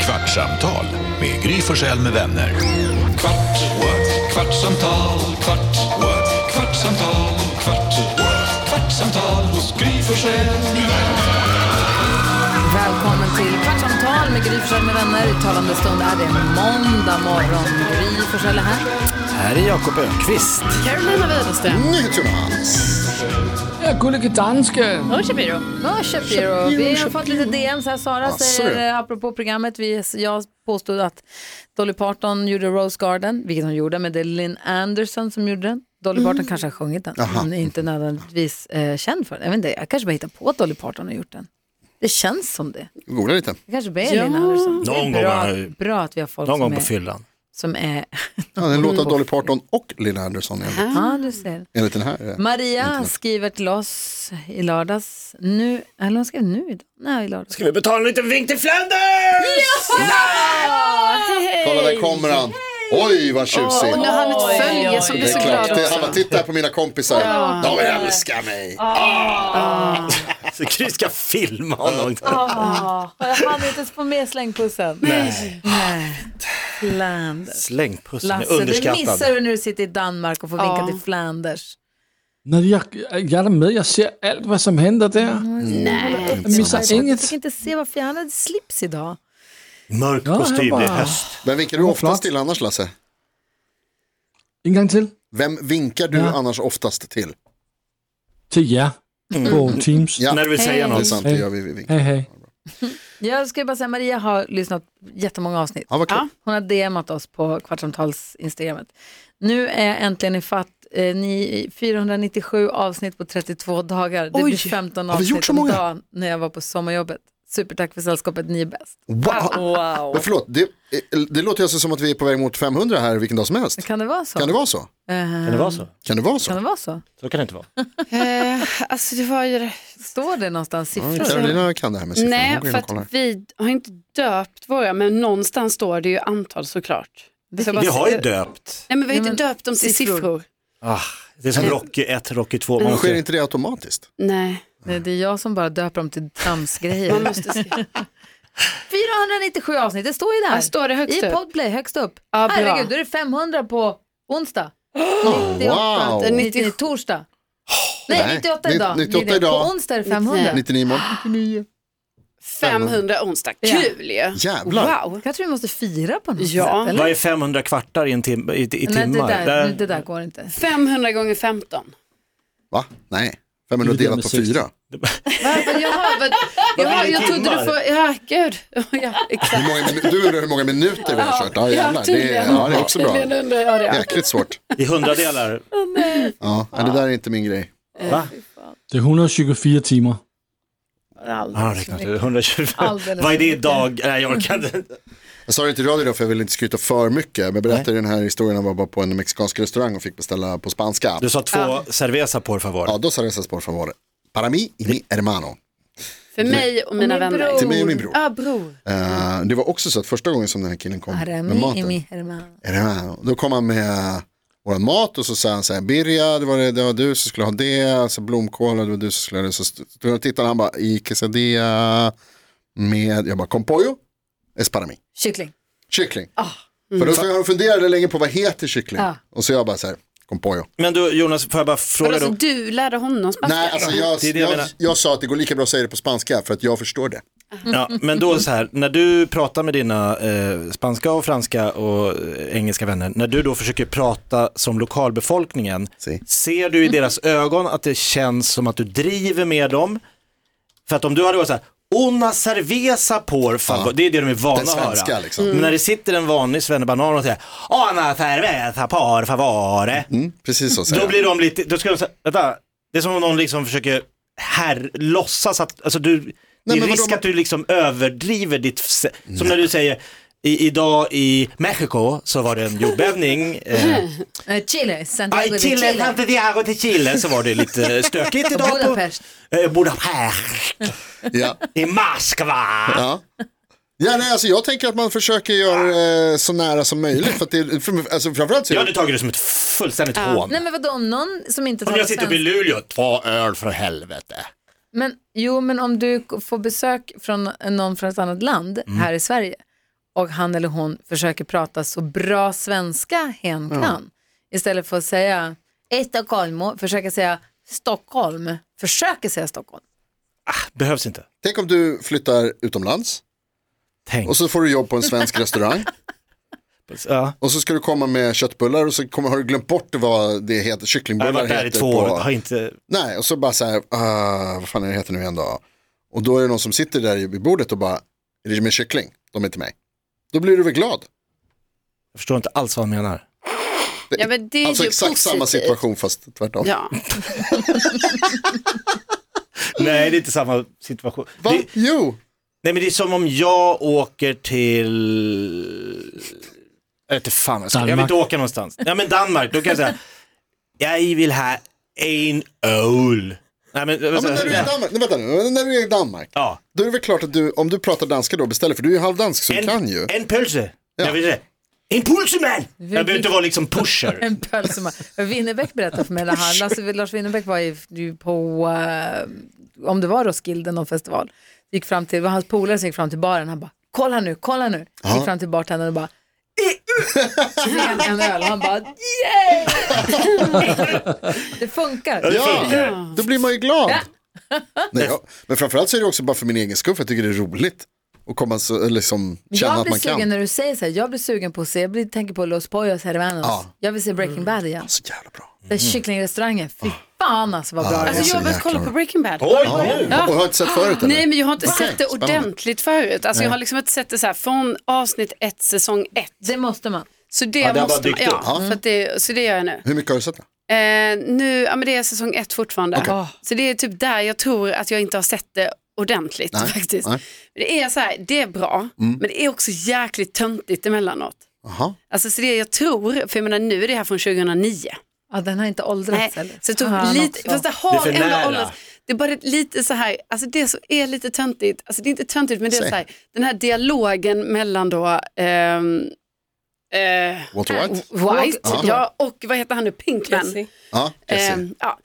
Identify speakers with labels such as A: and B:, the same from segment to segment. A: Kvartsamtal med Gry Forssell med vänner. Kvart, what? kvartsamtal, kvart, what? kvartsamtal, kvart, what? kvartsamtal hos Gry Forssell med vänner.
B: Välkommen till Kvartsamtal med Gry Forssell med vänner. I talande stund är det måndag morgon. Gry Forssell är här.
C: Här är Jakob Öqvist.
B: Carolina Widerström.
D: Ja, gullige danske.
E: Hör Shapiro.
B: Ja, Shapiro. Vi har fått lite DM så här. Sara säger, eh, apropå programmet, vi, jag påstod att Dolly Parton gjorde Rose Garden, vilket hon gjorde, men det är Lynn Anderson som gjorde den. Dolly Parton kanske har sjungit den, hon är inte nödvändigtvis eh, känd för den. Jag, vet inte, jag kanske bara hittar på att Dolly Parton har gjort den. Det känns som det.
F: Googla lite.
B: Det kanske blir Lynn Anderson. Det är
C: Någon gång har
B: bra,
C: jag-
B: bra att vi har folk
C: Någon
B: som
C: gång på
B: är,
C: fyllan.
B: som är...
F: Ja, det är en låt av Dolly Parton och Lilla Anderson enligt,
B: Ja, du ser.
F: enligt den här. eh,
B: Ah, Maria skriver till oss i lördags, nu, eller hon skrev nu idag, nej i lördags.
C: Ska vi betala en liten vink till Flanders?
F: Kolla, där kommer han. Oj, vad tjusig.
E: Nu har han ett följe som
F: det
E: blir så
F: är klart.
E: glad
F: Det,
E: också.
F: han bara, titta här på mina kompisar. De älskar mig.
B: Ah.
C: Ah. Så Chris ska filma honom.
B: Ah. Jag hann inte ens få med slängpussen. Nej. Flanders.
C: Slängpussen är
B: Lasse, det
C: underskattad.
B: missar du när du sitter i Danmark och får vinka till Flanders.
D: När jag, jag är med, jag ser allt vad som händer där.
B: Nej.
D: Jag missar
B: Jag
D: inget.
B: fick inte se varför jag hade slips idag.
C: Mörk
D: Ja,
C: kostym,
D: jag
C: det
D: bara-
C: är höst.
F: Vem vinkar du oftast till annars, Lasse?
D: En gång till.
F: Vem vinkar du annars oftast till?
D: Till er på Teams.
F: Ja,
C: När du vill säga
F: det är
C: något.
F: sant. Det gör vi. vi vinkar.
D: Hej hej.
B: Jag ska bara säga, Maria har lyssnat på jättemånga avsnitt.
F: Ja, vad kul.
B: Hon har DMat oss på Kvartsamtals-instagrammet. Nu är jag äntligen i fatt eh, ni, 497 avsnitt på 32 dagar. Det blir 15
F: Har vi
B: avsnitt
F: gjort så många?
B: om dagen när jag var på sommarjobbet. Supertack för sällskapet, ni är bäst.
F: Wow. Men förlåt, det, eh, det låter ju alltså som att vi är på väg mot 500 här vilken dag som helst.
B: Kan det vara så? Eh,
F: Kan det vara så?
C: Kan det vara så?
F: Kan det vara så?
B: Kan det vara så?
C: Så kan det inte vara.
E: Eh, alltså det var ju...
B: Står det någonstans
F: Ja,
B: siffror?
F: Carolina kan det här med siffrorna.
E: Nej,
F: Hon går in
E: för
F: och kollar.
E: att vi har inte döpt våra, men någonstans står det ju antal såklart. Så jag bara
C: Vi har ju
E: säger-
C: döpt.
E: Nej men vi har
B: Nej,
E: inte
B: men
E: döpt dem till
B: siffror.
E: siffror.
C: Ah, det är som Rocky 1, Rocky 2.
F: Men
C: Man
F: Sker
C: ser-
F: inte det automatiskt?
E: Nej,
B: Nej, det är jag som bara döper dem till tramsgrejer.
E: man måste se.
B: 497 avsnitt, det står ju där.
E: Ja, står det högst
B: I
E: upp?
B: Podplay, högst upp.
E: Ja, bra.
B: Herregud, då är det 500 på onsdag. 98,
F: wow.
B: 99, torsdag. Nej,
F: Nej,
B: 98
F: ni-
B: idag.
F: 98
B: blir det.
F: idag.
B: På onsdag är det 500.
F: 99 imorgon. 99.
E: 500 onsdag, kul ju.
F: Jävlar.
E: Wow.
B: Jag tror vi måste fira på något
E: Ja.
B: sätt.
C: Vad är 500 kvartar i, en tim- i, i
B: Nej, det
C: timmar?
B: där,
C: Där-
B: det där går inte.
E: 500 gånger 15.
F: Va? Nej. 500
D: Dividerat
F: delat
D: med
F: på
D: 60.
F: 4.
E: Va? Men Jaha, vad, jaha,
C: det i
E: jag trodde
C: timmar?
E: du får, ja gud. Ja, exakt.
F: Hur många, minu- du undrar hur många minuter vi har kört? Ja, jävlar. Det är, ja, det är också bra.
E: Tydligen undrar jag det.
F: Jäkligt svårt.
C: I hundradelar?
F: Ja, nej, det där är inte min grej.
C: Va?
D: Det är 124 timmar.
C: Ja, det är klart. det är 125.
B: Alldeles
C: Ah, Vad är det idag? Nej, jag orkar inte.
F: Jag sa det inte i radio då för jag ville inte skryta för mycket. Men jag berättade den här historien om jag var på en mexikansk restaurang och fick beställa på spanska.
C: Du sa två cerveza por favor.
F: Ja, då sa Resas por favor. Para mí y mi hermano.
E: För mig och mina
B: min
E: vänner.
B: bror.
F: Till mig och min bror.
E: Ja, bror.
F: Eh, det var också så att första gången som den här killen kom med
B: Arami,
F: maten.
B: Imi, Herman.
F: Ja, Då kom han med vår mat och så sa han så här, Birja, det var, det, det var du som skulle ha det, alltså blomkål, och det var du som skulle ha det. Så st- stod jag och tittade han bara, i quesadilla med, jag bara, con pollo, es para mí.
B: Kyckling.
F: Kyckling.
E: Ah,
F: För då stod jag och funderade länge på vad heter kyckling. Och så jag bara så här, con pollo.
C: Men du Jonas, får jag bara fråga
E: Alltså,
C: då?
E: du lärde honom spanska?
F: Nej, alltså jag,
C: Det är det jag
F: jag, jag,
C: menar.
F: sa att det går lika bra att säga det på spanska för att jag förstår det.
C: Ja, men då så här, när du pratar med dina eh, spanska och franska och eh, engelska vänner, när du då försöker prata som lokalbefolkningen,
F: Si.
C: ser du i deras ögon att det känns som att du driver med dem? För att om du hade varit så här, una cerveza por favor, det är det de är vana
F: Den
C: att höra.
F: svenska, liksom. Mm.
C: Men när det sitter en vanlig svennebanan och säger, una cerveza por favore,
F: Mm, precis så säger
C: då
F: jag.
C: blir de lite, då ska de säga, vänta, det är som om någon liksom försöker här, låtsas att, alltså du, det
F: men
C: är
F: vadå,
C: risk
F: man-
C: att du liksom överdriver ditt, se- som när du säger, i, idag i Mexiko så var det en jordbävning, eh,
B: Eh, Chile, Santiago
C: i
B: de
C: Chile,
B: Chile.
C: Santiago till Chile så var det lite eh, stökigt idag på
B: Budapest.
C: eh, Budapest,
F: Ja.
C: i Moskva.
F: Ja. Ja, nej, alltså jag tänker att man försöker göra eh, så nära som möjligt. För att det, för, alltså, framförallt så
C: Jag
F: är
C: hade
F: det,
C: tagit det som ett fullständigt hån.
B: Nej men vadå om någon som inte
C: Om
B: talar
C: jag sitter
B: svenska.
C: uppe i Luleå, två öl för helvete.
B: Men jo men om du k- får besök från någon från ett annat land här i Sverige och han eller hon försöker prata så bra svenska hen kan. Istället för att säga Stockholm, försöka säga Stockholm, försöker säga Stockholm.
C: Behövs inte.
F: Tänk om du flyttar utomlands
C: Tänk.
F: och så får du jobb på en svensk restaurang
C: Ja.
F: och så ska du komma med köttbullar och så kommer, har du glömt bort vad det heter,
C: Jag har
F: kycklingbullar
C: varit där i
F: heter
C: två
F: på-
C: år och har inte...
F: Nej, och så bara så här, "Ah, vad fan är det heter nu igen då? Och då är det någon som sitter där vid bordet och bara, är det med kyckling? De är till mig. Då blir du väl glad?
C: Jag förstår inte alls vad han menar.
E: Ja, men det är
F: Alltså
E: ju
F: exakt
E: positivt.
F: samma situation fast tvärtom.
E: Ja.
C: Nej, det är inte samma situation.
F: Va?
C: Det,
F: Jo,
C: nej, men det är som om jag åker till... Jag vet inte fan vad jag ska. Jag vill
D: Danmark.
C: inte åka någonstans. Ja, men Danmark, då kan jag säga, jag vill ha en öl. Nej, men...
F: ja, men när du är i Danmark, nej, vänta nu, när du är i Danmark,
C: Ja.
F: då är det väl klart att du, om du pratar danska då beställer, för du är ju halvdansk så du kan ju.
C: En pölse. Jag vill säga, en pulseman! Jag behöver inte vara liksom pusher.
B: En pölseman. Winnerbäck berättade för mig, när han, Lasse, Lars Winnerbäck var ju ju på, eh, om det var Roskilde, någon festival. Gick fram till, det var hans polare som gick fram till baren, han bara, kolla nu, kolla nu. Gick fram till bartendern och bara, en, en öl. Han bara, yay! det funkar.
F: Ja,
C: funkar.
F: då blir man ju glad. Nej, ja. Men framförallt så är det också bara för min egen skull, för jag tycker det är roligt att komma så, liksom, känna
B: Jag
F: att
B: blir
F: man
B: sugen
F: kan.
B: när du säger så här, jag blir sugen på att se, jag blir, tänker på Los Poyos Hermanos.
F: Ja.
B: Jag vill se Breaking Bad igen.
F: Så jävla bra.
B: Den kycklingrestaurangen, fy
F: Ah.
B: fan alltså vad bra det
F: det är
B: var.
E: Alltså
F: så
E: jag har börjat
F: jäkla
E: kolla på
F: roligt.
E: Breaking Bad.
C: Oj, nu!
F: Och har inte sett förut eller?
E: Ah, Nej men jag har inte
F: Okej,
E: sett det
F: spännande.
E: ordentligt förut. Alltså jag har liksom inte sett det så här från avsnitt ett, säsong ett.
B: Det måste man.
E: Så det,
C: det har bara
E: måste man,
C: dykt
E: ja,
C: upp.
E: för att det, så det gör jag nu.
F: Hur mycket har du sett? då?
E: Eh, nu, ja men det är säsong ett fortfarande. Så det är typ där jag tror att jag inte har sett det ordentligt
F: Nej,
E: faktiskt.
F: nej. Mm.
E: Men det är så här, det är bra, men det är också jäkligt töntigt emellanåt.
F: Jaha.
E: Alltså så det jag tror, för jag menar nu är det här från 2009.
B: Ja, den har inte
E: Nej,
B: åldrats heller.
E: så jag tror
B: Fan
E: lite,
B: också.
E: fast det
C: Det är
E: har
C: för
E: ändå
C: nära.
E: åldrats. Det är bara lite så här, alltså det som är lite töntigt, alltså det är inte töntigt men det är
F: Säg.
E: så här, den här dialogen mellan då ehm, eh,
F: Walter White?
E: White
F: Ja.
E: ja, och vad heter han nu, Pinkman.
F: Ja, Jesse.
E: Ehm, ja.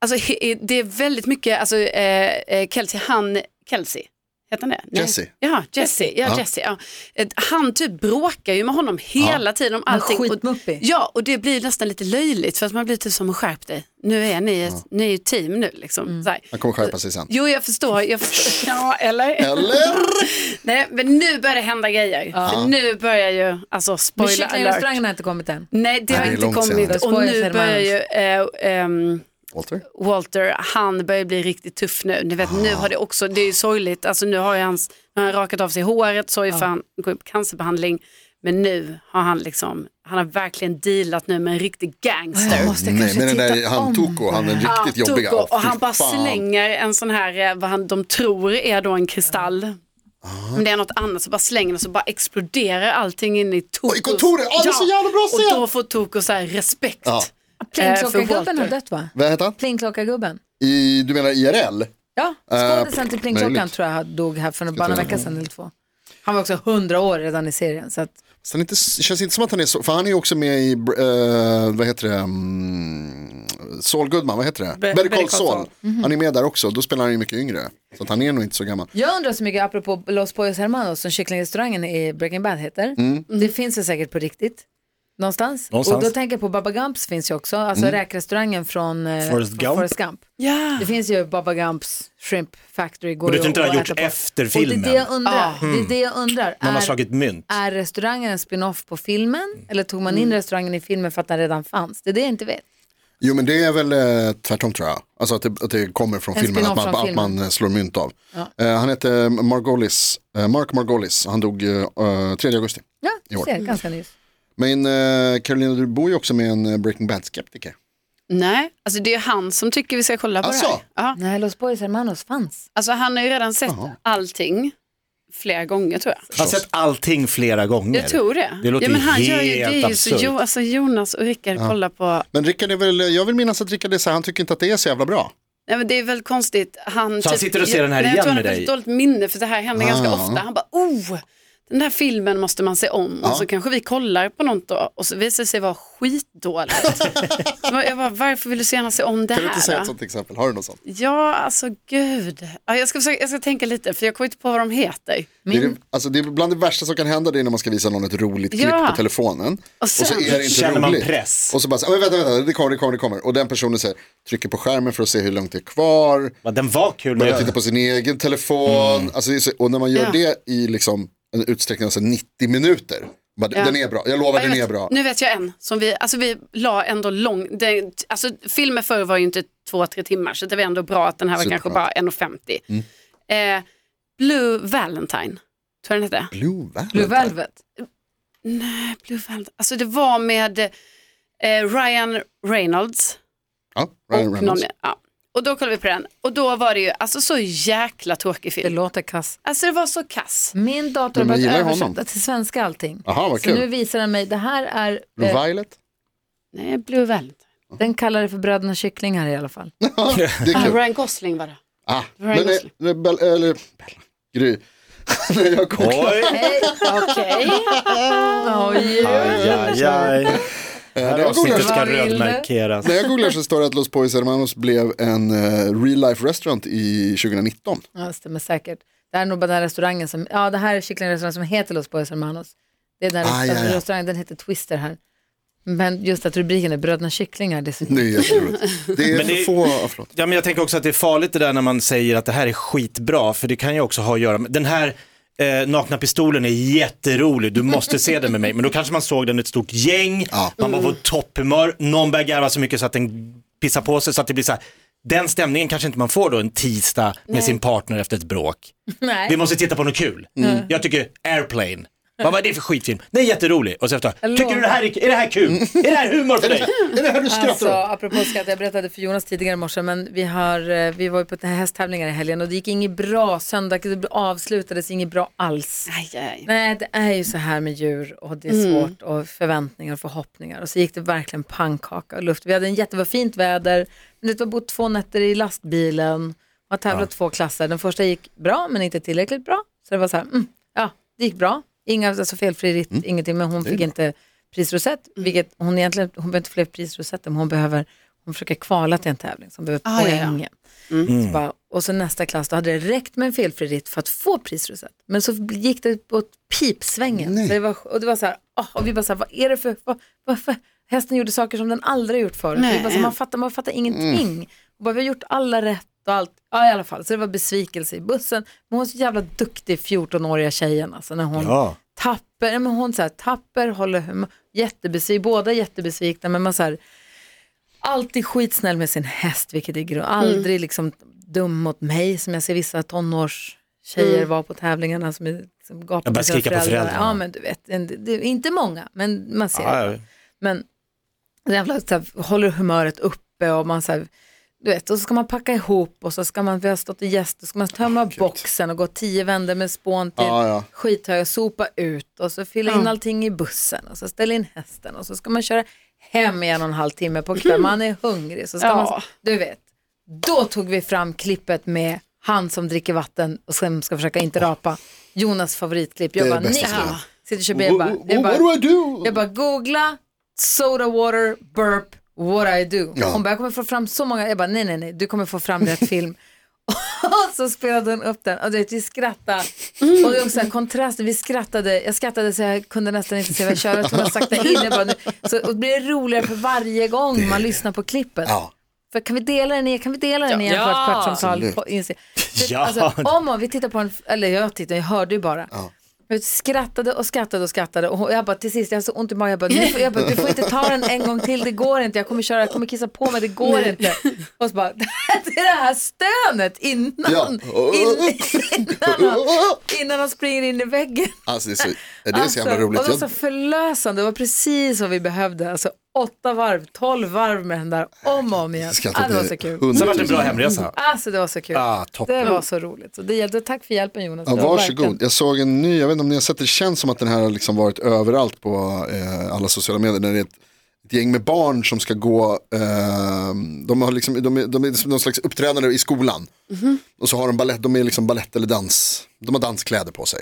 E: Alltså, he- det är väldigt mycket, alltså, eh, eh, Kelsey, han, Kelsey, heter han det? Nej.
F: Jesse.
E: Ja, Jesse. Ja,
F: Ja.
E: Jesse ja. Eh, Han typ bråkar ju med honom hela tiden om allting. Och-
B: skitmuppig.
E: Ja, och det blir nästan lite löjligt för att man blir typ som, skärp dig, nu är ni ett, ni är ju ett team nu liksom. Så här.
F: Han kommer skärpa sig sen.
E: Jo, jag förstår. Jag förstår. Ja, eller?
F: Eller?
E: Nej, men nu börjar det hända grejer. För nu börjar ju, alltså
B: Men
E: spoiler alert. Eh,
B: kycklingrestaurangen har inte kommit än.
E: Nej, det har
F: Nej, det är
E: inte
F: långt senare.
E: kommit och
B: Spoilers,
E: nu börjar ju eh, ehm,
F: Walter?
E: Walter, han börjar bli riktigt tuff nu. Ni vet, nu har det också, det är ju sorgligt, alltså nu har ju hans, nu har han rakat av sig håret, sorry för han går upp cancerbehandling. Men nu har han liksom, han har verkligen dealat nu med en riktig gangster.
B: Jag måste
F: Nej,
B: kanske
F: men den där,
B: titta
F: han
B: om.
F: Toko, han är riktigt
E: Ja,
F: jobbiga.
E: tog och-
F: Ja,
E: och
F: fy
E: han bara
F: fan.
E: slänger en sån här, eh, vad han, de tror är då en kristall.
F: Ah.
E: Om det är något annat så bara slänger den så bara exploderar allting in i Tokos.
F: Och i kontoret, ja, det är så jävla bra
E: Och
F: scen.
E: då får Toko så här respekt.
F: Ja.
E: eh, för
B: Plingklockargubben har
E: Walter.
B: dött va?
F: Vad heter han?
B: Plingklockargubben.
F: I, du menar IRL?
B: Ja,
F: Eh,
B: skådisen till Plingklockan
F: möjligt.
B: tror jag dog här för bara en vecka sedan eller två. Han var också hundra år redan i serien. Så att,
F: Så han inte, det känns inte som att han är så, för han är ju också med i, eh, vad heter det, mm, Saul Goodman, vad heter det? Better Call Saul. Han är med där också, då spelar han ju mycket yngre. Så att han är nog inte så gammal.
B: jag undrar så mycket, apropå Los Pollos Hermanos, som kycklingrestaurangen i Breaking Bad heter. Mm. Det finns ju säkert på riktigt. Någonstans.
C: Någonstans.
B: Och då tänker jag på Baba Gumps finns ju också, alltså räkrestaurangen från, eh,
C: Forrest
B: från
C: Gump.
B: Forrest Gump.
E: Ja.
B: Det finns ju Baba Gumps Shrimp Factory. Går
C: Och det tror
B: ju
C: inte det har
B: att
C: gjorts
B: äta på.
C: efter
B: Och
C: filmen.
B: det är det jag undrar. Det är det jag undrar.
C: Man har
B: Är-
C: slagit mynt.
B: Är restaurangen en spin-off på filmen eller tog man in
F: Mm.
B: restaurangen i filmen för att den redan fanns? Det är det jag inte vet.
F: Jo men det är väl eh, tvärtom tror jag. Alltså att det, att det kommer från
B: En
F: filmen, att
B: spin-off
F: man,
B: från
F: att
B: filmen.
F: man eh, slår mynt av. Eh, han heter Margolis, eh, Mark Margolis, han dog eh, 3 augusti.
B: Ja,
F: Jo.
B: du ser, ganska nyss.
F: Men eh, Carolina, du bor ju också med en eh, Breaking Bad-skeptiker.
E: Nej, alltså det är han som tycker vi ska kolla på
F: Alltså?
E: det här. Ja.
B: Nej, Los Boys Hermanos fanns.
E: Alltså han har ju redan sett allting flera gånger tror jag.
C: Jag har sett allting flera gånger.
E: Jag tror det.
C: Det låter
E: ja, men han
C: helt
E: gör ju, det är ju så,
C: absurt.
E: jo, alltså Jonas och Rickard kollar på,
F: Men Rickard är väl, jag vill minnas att Rickard är så här, han tycker inte att det är så jävla bra.
E: nej men det är väl konstigt. Han,
C: Så han sitter och ser den här
E: nej,
C: igen
E: jag tror
C: med
E: han har
C: dig?
F: Ah.
E: dåligt minne för det här händer ganska ofta. Han bara, oh, den där filmen måste man se om
F: Ja.
E: och så kanske vi kollar på något då, och så visar det sig vara skitdåligt. så jag bara, varför vill du så gärna se om det
F: Kan du
E: här?
F: inte säga
E: då?
F: ett sånt exempel? Har du något sånt?
E: Ja, alltså gud. Ja, Jag ska, försöka, jag ska tänka lite, för jag kommer inte på vad de heter.
F: Det, är, det- alltså, det är bland det värsta som kan hända det är när man ska visa någon ett roligt klipp
E: Ja.
F: på telefonen. Och, så
E: sen-
F: är det inte
C: Känner man
F: roligt.
C: press?
F: Och så bara, så, "Oj, vänta, vänta, det kommer, det kommer, det kommer. Och den personen säger, trycker på skärmen för att se hur långt det är kvar.
C: Men Den var kul. Men
F: Börjar
C: jag
F: titta på sin egen telefon.
C: Mm.
F: Alltså, det är så, och när man gör
E: Ja.
F: det i liksom, en utsträckning av så, 90 minuter. Bara,
E: Ja.
F: Den är bra, jag lovar
E: Ja, jag
F: den
E: vet.
F: är bra.
E: Nu vet jag en som vi, alltså vi la ändå lång, det, alltså filmer förr var ju inte två, tre timmar så det var ändå bra att den här var kanske bara 1,50.
F: Mm.
E: Eh, Blue Valentine, tror jag den hette.
F: Blue
B: Blue
F: Valentine.
B: Velvet.
E: Nej, Blue Valentine, alltså det var med eh, Ryan Reynolds.
F: Ja, Ryan
E: och, eh,
F: Reynolds.
E: mer. ja. och då kollade vi på den och då var det ju alltså så jäkla tråkig
B: Det
E: film.
B: låter kass.
E: Alltså det var så kass.
B: Min dator har
F: Men man
B: börjat
F: gillar ju
B: översätta
F: honom.
B: till svenska allting.
F: Jaha, vad
B: Så nu
F: kul.
B: visar den mig, det här är,
F: Blue
B: eh,
F: Violet.
E: Nej, Blue Valentine.
B: den kallar det för bröderna kyckling här i alla fall.
F: Det är
E: Ah,
F: kul.
E: Ryan Gosling var det.
F: Ah,
E: Ryan
F: men, eh,
E: Gosling.
F: eh, Bell, eller, Bella, Gry. När jag
C: tror-
F: kokar.
C: Oj,
E: Okej.
C: aj, aj, aj. Det här
F: var
C: avsnittet
F: roligt.
C: ska
B: Vad vill du?
C: rödmarkeras.
F: När jag googlar så står det att Los Poys Hermanos blev en eh, real life restaurant i 2019.
B: Ja, det stämmer säkert. Det här är nog bara den här restaurangen som, ja det här är kycklingrestaurangen som heter Los Boys Hermanos. Det är den här
F: Ah, ja, ja.
B: restaurangen, den heter Twister här. Men just att rubriken är bröderna kycklingar, det är så
F: Det är jätteroligt. Det är
C: Men
F: för
C: det-
F: få, ah, förlåt.
C: Ja, men jag tänker också att det är farligt det där när man säger att det här är skitbra, för det kan ju också ha att göra med, den här eh, nakna pistolen är jätterolig, du måste se den med mig, men då kanske man såg den i ett stort gäng,
F: Ja.
C: man var på topphumör, någon börjar garva så mycket så att den pissar på sig så att det blir så här, den stämningen kanske inte man får då en tisdag med sin partner efter ett bråk. Vi
B: Nej,
C: måste titta på något kul. Mm. Jag tycker Airplane, vad var det för skitfilm? Den är jätterolig. Och så efter, tycker du det här är, är det här kul? Är det här humor för dig?
F: Är det här du skrattar
B: alltså
F: åt?
B: apropå skratt, jag berättade för Jonas tidigare i morse, men vi, har, eh, vi var ju på hästtävlingar i helgen och det gick inget bra, söndag det avslutades inget bra alls.
E: Aj, aj.
B: Nej, det är ju så här med djur och det är
E: Mm.
B: svårt och förväntningar och förhoppningar. Och så gick det verkligen pannkaka och luft. Vi hade en jättebra fint väder, men det var bott två nätter i lastbilen och har tävlat två klasser. Den första gick bra, men inte tillräckligt bra. Så det var så här, mm, ja, det gick bra. Inga, alltså felfri ritt,
E: Mm.
B: ingenting, men hon fick inte prisrosett, vilket hon egentligen, hon behöver inte fler prisrosetter, men hon behöver, hon försöker kvala till en tävling som behöver
E: Ah, ja, ja.
B: poäng. Så bara, och så nästa klass, då hade det räckt med en felfri ritt för att få prisrosett. Men så gick det på ett pipsvängen. Så det var, och det var så här, åh, och vi bara så här, vad är det för, vad, vad för, hästen gjorde saker som den aldrig gjort förut.
E: Nej.
B: Vi bara så här, man, fattar, man fattar ingenting. Och bara, vi har gjort alla rätt och allt, ja i alla fall. Så det var besvikelse i bussen. Men hon är så jävla duktig, 14-åriga tjejen alltså, när hon
C: Ja.
B: tapper, nej, men hon så här, tapper, håller hum- jättebesvik, båda jättebesvikna, men man så här, alltid skitsnäll med sin häst, vilket är grymt. Aldrig liksom dum mot mig, som jag ser vissa tonårstjejer vara på tävlingarna som är liksom gapar
C: Ja, bara
B: på sina
C: skrika på föräldrarna.
B: Ja, men du vet, en- det är inte många, men man ser det.
C: Ja, ja.
B: Men jävla, så här, håller humöret uppe och man så här, du vet, och så ska man packa ihop och så ska man, vi har stått i gäst, och så ska man tömma boxen och gå tio vändor med spån till
F: Ja, ja.
B: skithög och sopa ut och så fylla in allting i bussen och så ställa in hästen och så ska man köra hem i en och en halv timme på kvällen, man är hungrig så ska
E: Ja.
B: man, du vet. Då tog vi fram klippet med han som dricker vatten och sen ska försöka inte rapa. Jonas favoritklipp. Jag
F: Det är
B: bara,
F: det bästa
B: nej.
F: klippet.
B: Sitter och kör bil, jag bara, jag bara,
F: What do I do?
B: jag bara googla soda water burp what I do.
F: Ja.
B: Hon bara jag kommer få fram så många, jag bara nej nej nej du kommer få fram rätt film. Och så spelade hon upp den och du vet, vi skrattade. Och det är också så här kontrast, vi skrattade, jag skrattade så jag kunde nästan inte se vad jag körde. Jag tog den sakta in, jag bara, nu. Så, och det blir roligare för varje gång man lyssnar på klippet.
F: Ja.
B: För kan vi dela den igen? Kan vi dela den igen ja. för ett kvartssamtal? På Insta- För,
C: Ja.
B: Alltså, om och vi tittar på en, eller jag tittar, jag hörde ju bara. Jag skrattade och skrattade och skrattade och jag bara till sist, jag har så ont i magen, jag bara, nu får, jag bara du får inte ta den en gång till, det går inte, jag kommer köra, jag kommer kissa på mig, det går inte. Och så bara, det är det här stönet innan,
F: Ja.
B: in, innan, han, innan han springer in i väggen.
F: Alltså det är så, det är så jävla
B: Alltså,
F: roligt.
B: Och det var så förlösande, det var precis vad vi behövde. Alltså åtta varv, tolv varv med den där om och om igen.
F: Jag
B: Ah,
F: skrattar
B: det var
F: till
B: så kul.
F: 100
C: Sen var det en bra
F: 000.
C: hemresa.
B: Alltså det var så kul.
C: Ah, toppen.
B: det var så roligt. Så det, gällde- tack för hjälpen Jonas.
F: Ja,
B: Det var
F: varsågod,
B: verkligen-
F: jag såg en ny, jag vet inte om ni har sett det, det känns som att den här har liksom varit överallt på eh, alla sociala medier. När det är ett, ett gäng med barn som ska gå, eh, de, har liksom, de, är, de är som någon slags uppträdande i skolan. Och så har de ballett, de är liksom ballett eller dans, de har danskläder på sig.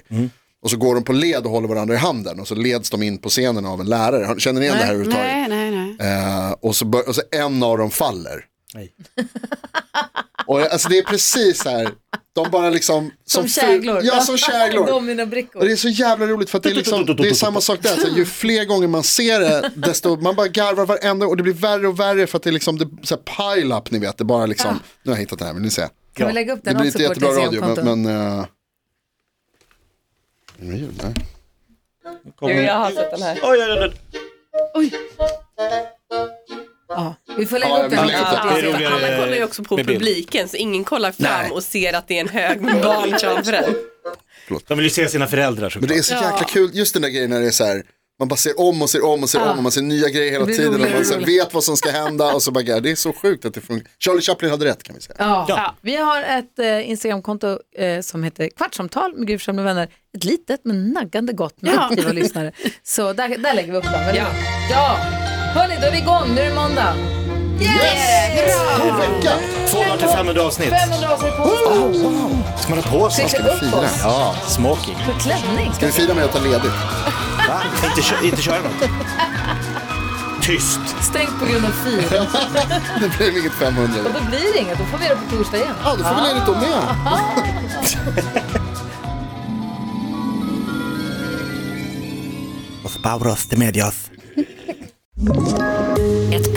F: Och så går de på led och håller varandra i handen och så leds de in på scenen av en lärare. Har- Känner ni igen det här överhuvudtaget?
E: Nej, nej, nej.
F: Eh, och, så bör- och så en av dem faller. Och, jag- alltså det är precis så här, de bara liksom...
B: Som
F: fru-
B: käglor.
F: Ja, som käglor. Och
B: Dominobrickor.
F: det är så jävla roligt för att det är, liksom, det är samma sak där. Så här, ju fler gånger man ser det, desto, man bara garvar varenda och det blir värre och värre för att det är liksom det, så här, pile up, ni vet. Det bara liksom, nu har jag hittat det här, vill ni se?
B: Kan vi lägga upp
F: Det
B: den
F: blir
B: också
F: inte
B: på
F: jättebra
B: vårt
F: radio,
B: Instagramkonto?
F: men... men eh, det är ljud där.
B: Jo, jag har sett den här.
C: Oj, oj, oj, oj.
B: Ja, vi får lägga
F: Ja,
B: upp
F: vi
B: den.
F: lägger upp
B: också
F: den.
B: på
C: Det är
B: Instagram.
C: roligare.
G: Alltså, Alla kollar ju också på
C: med bild.
G: publiken så ingen kollar fram och ser att det är en hög med barn framför en.
C: De vill ju se sina föräldrar
F: Men
C: såklart.
F: det är så jäkla kul, just den där grejen när det är så här, man bara ser om och ser om och ser om och man ser nya grejer hela
B: Det blir
F: tiden och
B: roligare
F: man
B: och
F: så här,
B: roligare.
F: vet vad som ska hända och så bara, "God, det är så sjukt att det funkar. Charlie Chaplin hade rätt kan vi säga.
B: Ja.
C: Ja.
B: Vi har ett eh, Instagramkonto eh, som heter Kvartsamtal med Gry Forssell med vänner. Ett litet men naggande gott med
E: Ja.
B: aktiva lyssnare. Så där, där lägger vi upp dem. eller? ja. Hörni, då är vi igång. Nu är det måndag.
F: God vecka!
C: 200 500 avsnitt.
B: 500 avsnitt på onsdag.
C: Ska man ha på sig?
B: Ska
F: Ska
B: vi
F: vi
B: upp
F: fira?
B: oss?
C: Ja, smoking.
B: För klänning.
F: Ska vi fira med att ta ledigt?
C: Va? Inte, kö- inte köra något? Tyst.
B: Stängt på grund av fyr.
F: Det blev inget 500.
B: Och då blir det inget. Då får vi göra det på torsdag igen.
F: Ja, då får vi ledigt då med.
C: Los Pauros de Medios.
H: Ett